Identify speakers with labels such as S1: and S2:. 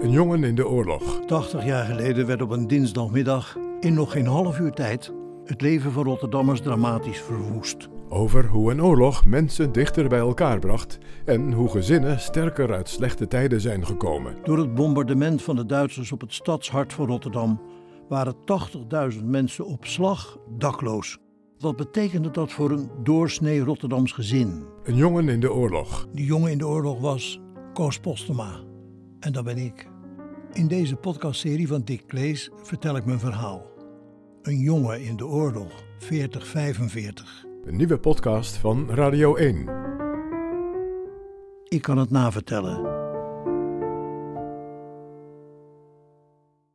S1: Een jongen in de oorlog.
S2: 80 jaar geleden werd op een dinsdagmiddag, in nog geen half uur tijd, het leven van Rotterdammers dramatisch verwoest.
S1: Over hoe een oorlog mensen dichter bij elkaar bracht en hoe gezinnen sterker uit slechte tijden zijn gekomen.
S2: Door het bombardement van de Duitsers op het stadshart van Rotterdam waren 80.000 mensen op slag dakloos. Wat betekende dat voor een doorsnee Rotterdams gezin?
S1: Een jongen in de oorlog.
S2: De jongen in de oorlog was Koos Postema. En dat ben ik. In deze podcastserie van Dick Klees vertel ik mijn verhaal. Een jongen in de oorlog, 4045.
S1: Een nieuwe podcast van Radio 1.
S2: Ik kan het navertellen.